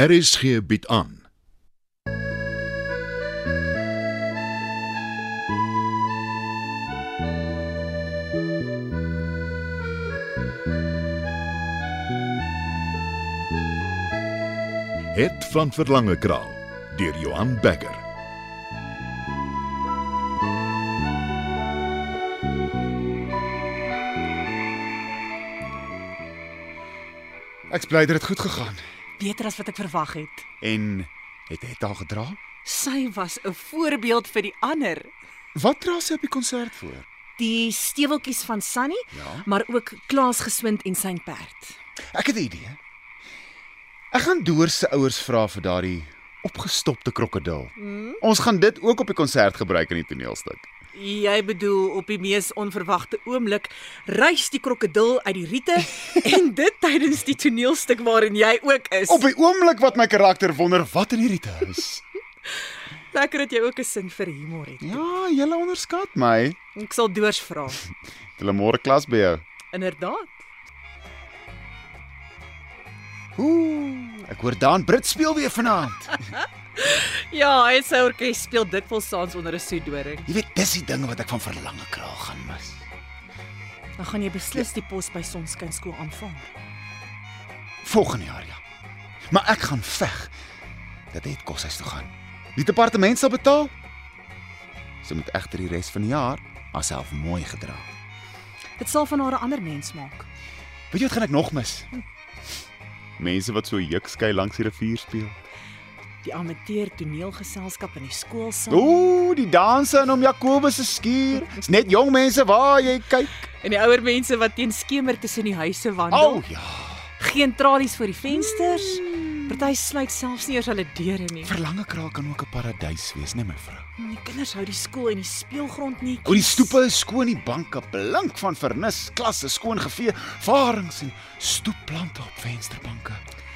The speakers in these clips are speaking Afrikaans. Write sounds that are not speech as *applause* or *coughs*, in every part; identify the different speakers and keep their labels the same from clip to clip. Speaker 1: RSG bied aan. Het van Verlange Kraal deur Johan Becker.
Speaker 2: Ek's bly dit het goed gegaan.
Speaker 3: beter as wat ek verwag het.
Speaker 2: En het het haar gedra?
Speaker 3: Sy was 'n voorbeeld vir die ander.
Speaker 2: Wat dra sy op die konsert voor?
Speaker 3: Die steweltjies van Sunny,
Speaker 2: Ja.
Speaker 3: maar ook Klaas Geswind en sy perd.
Speaker 2: Ek het 'n idee. Ek gaan Doors se ouers vra vir daardie opgestopte krokodil. Mm? Ons gaan dit ook op die konsert gebruik in die toneelstuk.
Speaker 3: Jy bedoel op die mees onverwagte oomblik reis die krokodil uit die *laughs* riete en dit tydens die toneelstuk waarin jy ook is.
Speaker 2: Op die oomblik wat my karakter wonder wat in hierdie te is.
Speaker 3: Lekker dat jy ook 'n sin vir humor het.
Speaker 2: *laughs* ja, jy onderskat my.
Speaker 3: Ek sal doors vra.
Speaker 2: Het Hulle môre klas by jou.
Speaker 3: Inderdaad.
Speaker 2: Ooh, ek hoor Dan Brit speel weer vanaand.
Speaker 3: Ja, hy se orkes speel dikwels saans onder 'n soetdoring.
Speaker 2: Jy weet, dis die dinge wat ek van verlange kraal gaan mis.
Speaker 3: Dan gaan jy beslis die pos by Sonskyn skool aanvang.
Speaker 2: Volgende jaar ja. Maar ek gaan veg dat dit koshuis toe gaan. Die departement sal betaal. Sy moet egter die res van die jaar haarself mooi gedra.
Speaker 3: Dit sal van haar 'n ander mens maak.
Speaker 2: Weet jy wat gaan ek nog mis? Mense wat so jukskei langs die rivier speel.
Speaker 3: die amateur toneelgeselskap in die skoolsaal
Speaker 2: Ooh, die danse in om Jakobus se skuur. Dis net jong mense waar jy kyk.
Speaker 3: en die ouer mense wat teen skemer tussen die huise
Speaker 2: Al
Speaker 3: wandel.
Speaker 2: oh, ja,
Speaker 3: Geen tralies voor die vensters. Party sluit selfs nie eers hulle deure nie.
Speaker 2: verlange kraal kan ook 'n paradys wees, né, my vrou?
Speaker 3: Die kinders hou die skool en die speelgrond nie.
Speaker 2: O, die stoepe is skoon, die banke blink van vernis, klasse skoon gevee, varings en stoepplante op vensterbanke.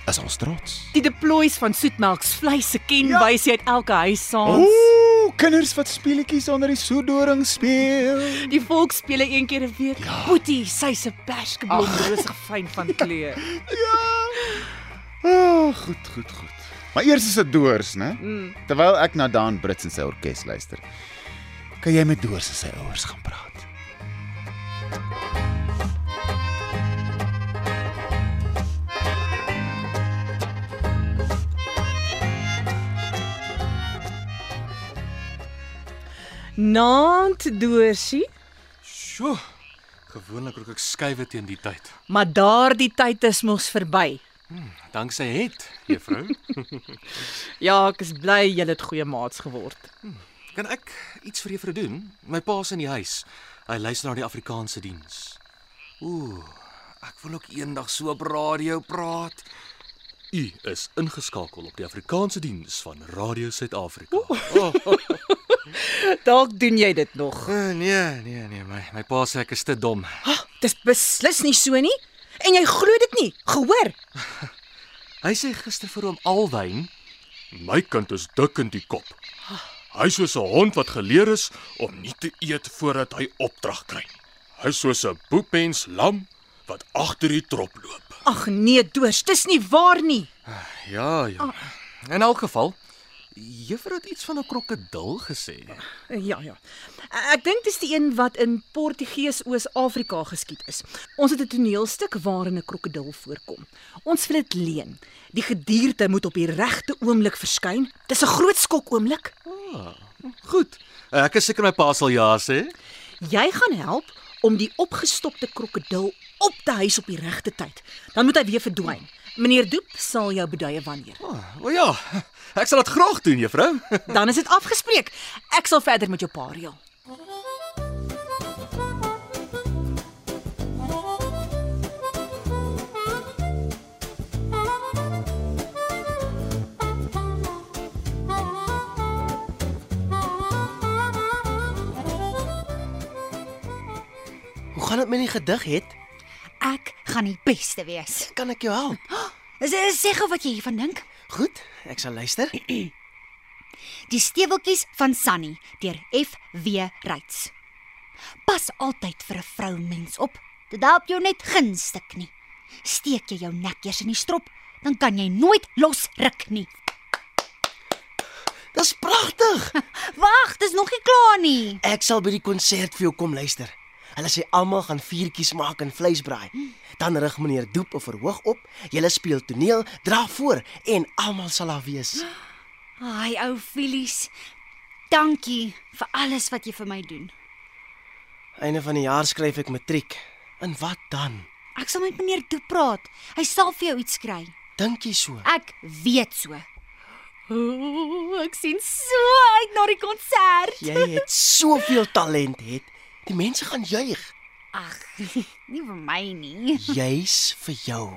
Speaker 2: Is ons trots.
Speaker 3: Die deploys van soetmelks vleis se
Speaker 2: Ja.
Speaker 3: kenwyse uit elke huis saans.
Speaker 2: Ooh, kinders wat speletjies onder die soedoring speel.
Speaker 3: Die volk speel een keer 'n week.
Speaker 2: Ja.
Speaker 3: Boetie, sy's 'n perskblom rosig fyn van kleur.
Speaker 2: Ja. O, oh, goed, goed, goed. Maar eers is dit Doors, né? Mm. Terwyl ek na Dan Brits en sy orkes luister. Kan jy met Doors en sy ouers gaan praat?
Speaker 3: Naand doorsie,
Speaker 4: Sjoe. Gewoonlik rook ek skuwe teen die tyd.
Speaker 3: maar daardie tyd is mos verby.
Speaker 4: Danksy het, juffrou.
Speaker 3: Ja, ek is bly jy het goeie maats geword.
Speaker 4: kan ek iets vir juffrou doen? My pa's in die huis. Hy luister na die Afrikaanse diens. Ooh, ek wil ook eendag so op radio praat. U is ingeskakel op die Afrikaanse diens van Radio Suid-Afrika. Oh,
Speaker 3: Dalk doen jy dit nog.
Speaker 4: nee, nee, nee, my my pa sê ek is te dom.
Speaker 3: Dis beslis nie so nie. En jy glo dit nie. Gehoor?
Speaker 4: Hy sê gister vir hom Alwyn, my kind is dik in die kop. Hy is soos 'n hond wat geleer is om nie te eet voordat hy opdrag kry nie. Hy is soos 'n boepmens lam wat agter die trop loop.
Speaker 3: Ag nee, Doors, dis nie waar nie.
Speaker 4: Ja, ja. In elk geval, juffrou het iets van 'n krokodil gesê.
Speaker 3: Ja, ja. Ek dink dis die een wat in Portugees Oos-Afrika geskied is. Ons het 'n toneelstuk waarin 'n krokodil voorkom. Ons wil dit leen. Die gedierte moet op die regte oomblik verskyn. Dis 'n groot skok oomblik.
Speaker 4: Goed. Ek is seker my pa sal ja sê.
Speaker 3: Jy gaan help om die opgestopte krokodil op te huis op die regte tyd. Dan moet hy weer verdwyn. Meneer Doep sal jou beduie wanneer.
Speaker 4: O oh, ja, ek sal dit graag doen, juffrou.
Speaker 3: Dan is dit afgespreek. Ek sal verder met jou pa reël.
Speaker 5: Hoe gaan dit met die gedig het?
Speaker 6: Ek gaan die beste wees.
Speaker 5: Kan ek jou help?
Speaker 6: Is is sê gou wat jy hiervan dink.
Speaker 5: Goed, ek sal luister.
Speaker 6: Die steweltjies van Sunny deur F.W. Reits. Pas altyd vir 'n vroumens op. Dit help jou net gunstig nie. Steek jy jou nek eers in die strop, dan kan jy nooit losruk nie. *laughs*
Speaker 5: Dis pragtig.
Speaker 6: Wag, dis nog nie klaar nie.
Speaker 5: Ek sal by die konsert vir jou kom luister. Hulle sê almal gaan vuurtjies maak en vleis braai. Dan rig meneer Doep 'n verhoog op. Julle speel toneel, dra voor en almal sal daar wees.
Speaker 6: Ai, ou Filies. Dankie vir alles wat jy vir my doen.
Speaker 5: Einde van die jaar skryf ek matriek. En wat dan?
Speaker 6: Ek sal met meneer Toe praat. Hy sal vir jou iets kry.
Speaker 5: Dink jy so?
Speaker 6: Ek weet so. Ooh, ek sien so uit na die konsert.
Speaker 5: Jy het soveel talent het. Die mense gaan juig.
Speaker 6: Ag, *laughs* nie vir my nie.
Speaker 5: Jy's vir jou.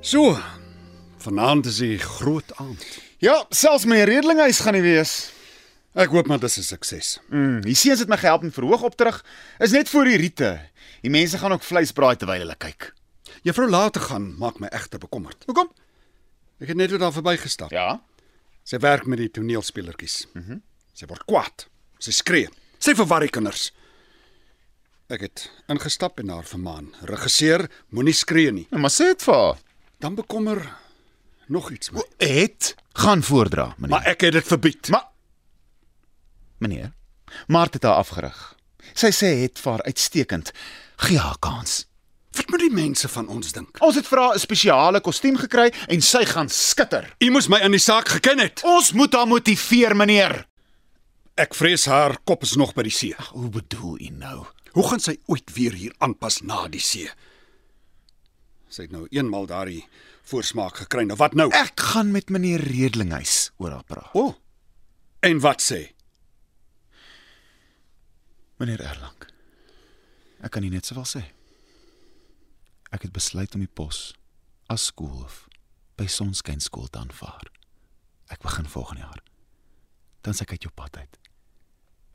Speaker 7: So. Vanaand is die groot aand.
Speaker 2: Ja, selfs my redelinghuis gaan nie wees.
Speaker 7: Ek hoop maar dis 'n sukses.
Speaker 2: Mm, die seuns het my gehelp met verhoog op terug. Is net vir die riete. Die mense gaan ook vleis braai terwyl hulle kyk.
Speaker 7: Juffrou laat te gaan maak my egter bekommerd.
Speaker 2: Hoekom?
Speaker 7: Ek het net oor daar verbygestap.
Speaker 2: Ja.
Speaker 7: Sy werk met die toneelspelertjies. Mhm. Mm sy word kwaad. Sy skree. Sy verwar die kinders. Ek het ingestap en haar vermaan. Regisseer, moenie skree nie.
Speaker 2: nou Maar sê dit vir haar.
Speaker 7: Dan bekommer nog iets my.
Speaker 2: Het gaan voordra, meneer.
Speaker 7: Maar ek het dit verbied.
Speaker 2: Maar meneer, Mart het haar afgerig. Sy sê het vir haar uitstekend. Gee haar kans.
Speaker 7: wat moet die mense van ons dink?
Speaker 2: Ons het vir haar 'n spesiale kostuum gekry en sy gaan skitter.
Speaker 7: U moes my in die saak geken het.
Speaker 2: Ons moet haar motiveer, meneer.
Speaker 7: Ek vrees haar kop is nog by die see.
Speaker 2: Hoe bedoel u nou?
Speaker 7: Hoe gaan sy ooit weer hier aanpas na die see? Sy het nou eenmal daardie voorsmaak gekry. Nou wat nou?
Speaker 2: Ek gaan met meneer Redlinghuis oor haar praat.
Speaker 7: O. Oh, en wat sê?
Speaker 2: Meneer Erlang. Ek kan nie net sowel sê. Ek het besluit om die pos as skoolhoof by Sonskynskool te aanvaar. Ek begin volgende jaar. Dan se ek uit jou pad uit.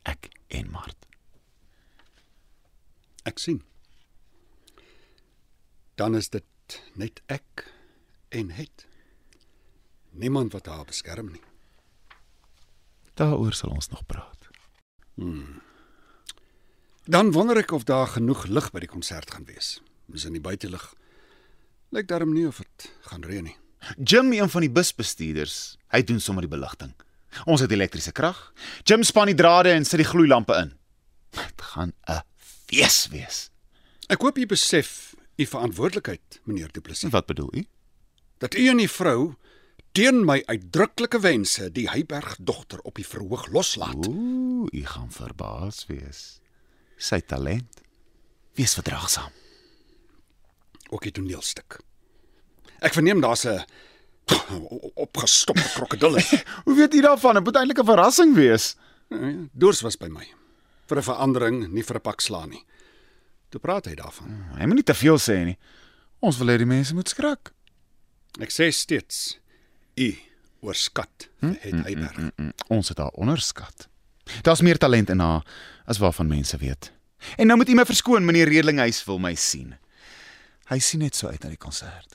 Speaker 2: Ek en Mart.
Speaker 7: Ek sien. Dan is dit net ek en het. Niemand wat haar beskerm nie.
Speaker 2: Daaroor sal ons nog praat.
Speaker 7: Dan wonder ek of daar genoeg lig by die konsert gaan wees. Dis in die buitelug. Lyk daarom nie of dit gaan reën nie.
Speaker 2: Jim, een van die busbestuurders, hy doen sommer die beligting. Ons het elektriese krag. Jim span die drade en sit die gloeilampe in. Dit gaan 'n fees wees.
Speaker 7: Ek hoop u besef u verantwoordelikheid, meneer Du Plessis.
Speaker 2: Wat bedoel u?
Speaker 7: dat u en u vrou teen my uitdruklike wense die Heyberg dogter op die verhoog loslaat.
Speaker 2: Ooh, u gaan verbaas wees. Sy talent. Wees verdraagsaam.
Speaker 7: Ook die toneelstuk. Ek verneem daar's 'n *coughs* opgestopte krokodil.
Speaker 2: Hoe weet u daarvan? Dit moet eintlik 'n verrassing wees.
Speaker 7: Doors was by my. Vir 'n verandering, nie vir 'n pak slaan nie. Toe praat hy daarvan.
Speaker 2: Hy moet nie te veel sê nie. Ons wil hê die mense moet skrik.
Speaker 7: Ek sê steeds u oorskat het Heyberg.
Speaker 2: Mm, *clears throat* Ons het haar onderskat. Daar's meer talent in haar as waarvan mense weet. En nou moet u my verskoon, meneer Redlinghuis wil my sien. Hy sien net so uit na die konsert.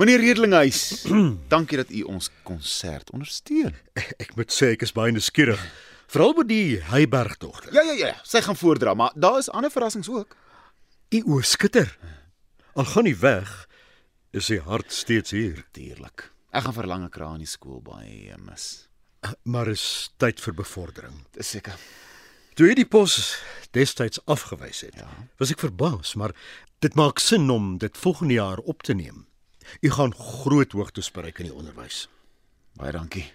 Speaker 2: Meneer Redlinghuis, *clears throat* dankie dat u ons konsert ondersteun.
Speaker 8: *laughs* Ek moet sê ek is baie nuuskierig. Veral oor die Heyberg dogter.
Speaker 2: Ja ja ja, sy gaan voordra, maar daar is ander verrassings ook.
Speaker 8: U oë skitter. Al gaan nie weg, is sy hart steeds hier.
Speaker 2: Natuurlik. Ek gaan verlange kra in die skool baie eh, mis.
Speaker 8: Eh, Maar is tyd vir bevordering.
Speaker 2: Dis seker.
Speaker 8: Toe hy die pos destyds afgewys het, ja. was ek verbaas, maar dit maak sin om dit volgende jaar op te neem. U gaan groot hoogtes bereik in die onderwys.
Speaker 2: Baie dankie.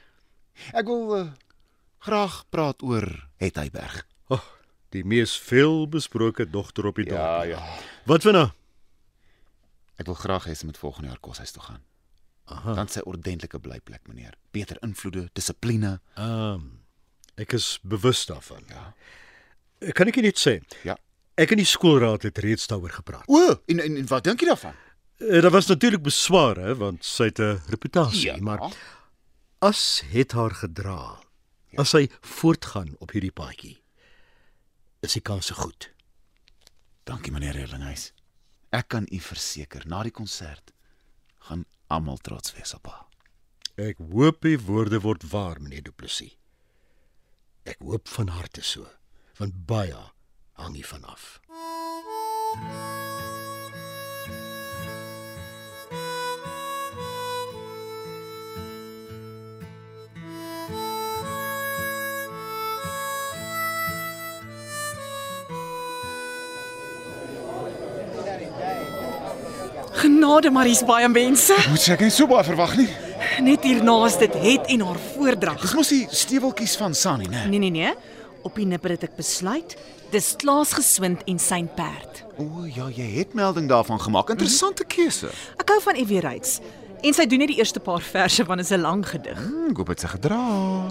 Speaker 2: Ek wil uh, graag praat oor Het Heyberg.
Speaker 8: Ag, oh, die mees veelbesproke dogter op die dorp.
Speaker 2: ja.
Speaker 8: Wat van haar?
Speaker 2: Ek wil graag hê sy moet volgende jaar koshuis toe gaan. Aha. Dan sy ordentlike blyplek, meneer. Beter invloede, dissipline.
Speaker 8: Ehm um, ek is bewus daarvan. Ja. Kan ek u net sê?
Speaker 2: Ja.
Speaker 8: Ek en die skoolraad het reeds daaroor gepraat.
Speaker 2: O, en, en en wat dink jy daarvan?
Speaker 8: Eh, Daar was natuurlik besware want sy het 'n reputasie,
Speaker 2: Ja.
Speaker 8: maar as het haar gedra. As sy voortgaan op hierdie paadjie, is die kans goed.
Speaker 2: dankie meneer Erlinghuis. Ek kan u verseker, na die konsert gaan almal trots wees op haar.
Speaker 8: Ek hoop die woorde word waar, meneer Du Plessis. Ek hoop van harte so, want baie hang hiervan af.
Speaker 3: Genade, maar hier's baie mense.
Speaker 2: Moet sê ek het nie so baie verwag nie.
Speaker 3: Net hiernaas dit het en haar voordrag.
Speaker 2: Dis mos die steweltjies van Sunny, né?
Speaker 3: Nee nee nee. Op die nipper het ek besluit dis Klaas geswind en sy perd.
Speaker 2: O ja, jy het melding daarvan gemaak. Interessante keuse.
Speaker 3: Ek hou van Evie Reits en sy doen net die eerste paar verse want dit is 'n lang gedig.
Speaker 2: Hmm, Goop het se gedra.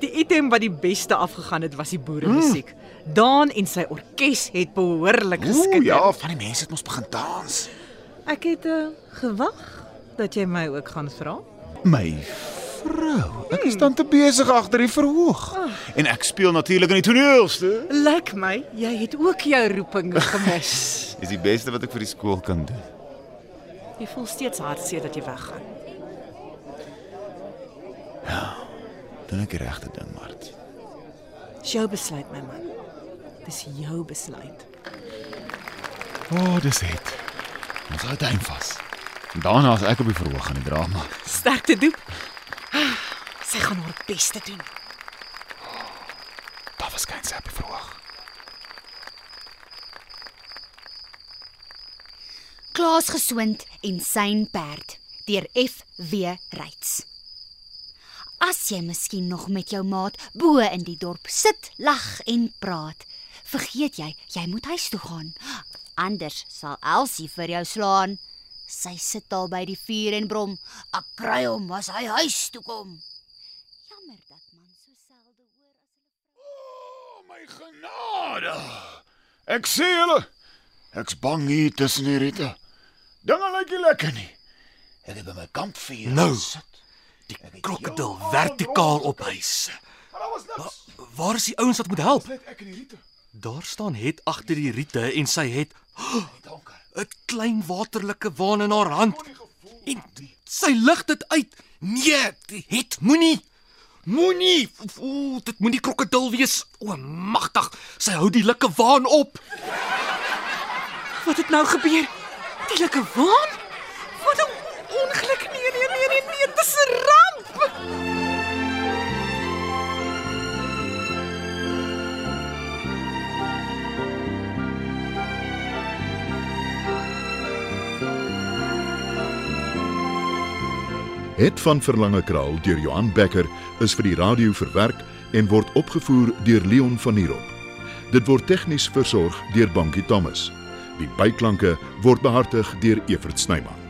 Speaker 3: Die item wat die beste afgegaan het was die boere musiek. Mm. Daan en sy orkes het behoorlik
Speaker 2: O
Speaker 3: geskitter.
Speaker 2: ja, van die mense het mos begin dans.
Speaker 3: Ek het uh, gewag dat jy my ook gaan vra.
Speaker 2: My vrou, ek is dan te besig agter die verhoog. En ek speel natuurlik in die toneelste.
Speaker 3: Lyk my jy het ook jou roeping *laughs* gemis.
Speaker 2: Dis die beste wat ek vir die skool kan doen.
Speaker 3: jy voel steeds hartseer dat jy weggaan.
Speaker 2: Doen ek die regte ding, Mart.
Speaker 3: Dis jou besluit my man. Dis jou besluit.
Speaker 2: O, oh, dis dit. Ons hou dit vas. En daarna as ek op die verhoog gaan die drama.
Speaker 3: Sterkte doep. *sighs* Ah, Sy gaan haar bes te doen.
Speaker 2: Daar was geen sap verhoog.
Speaker 6: Klaas geswind en syn perd deur FW Reits. As jy miskien nog met jou maat bo in die dorp sit, lag en praat, vergeet jy jy moet huis toe gaan. Anders sal Elsie vir jou slaan. Sy sit al by die vuur en brom. Ek kry hom as hy huis toe kom. Jammer dat man so selde hoor as
Speaker 2: O, my genade. Ek sê julle, ek's bang hier tussen die riete. Dinge lyk nie lekker nie. Ek het by my kampvuur
Speaker 4: Nou.
Speaker 2: gesit. Die
Speaker 4: Krokodil vertikaal op huis.
Speaker 2: Daar was niks.
Speaker 4: Waar is die ouens wat moet help?
Speaker 2: Net ek en die riete.
Speaker 4: Daar staan het agter die riete en sy het *gasps*
Speaker 2: Donker.
Speaker 4: 'n klein waterlike waan in haar hand. En sy lig dit uit. Nee, die het moenie. Moenie. O, dit moenie krokodil wees. O, magtig. Sy hou die likke waan op.
Speaker 3: Wat het nou gebeur? Die lekker waan? Wat 'n ongeluk nee nee nee nee, nee dis 'n ramp.
Speaker 1: Het van Verlange Kraal deur Johan Becker is vir die radio verwerk en word opgevoer deur Leon Van Heerop. Dit word tegnies versorg deur Bankie Thomas. Die byklanke word behartig deur Evert Snyman.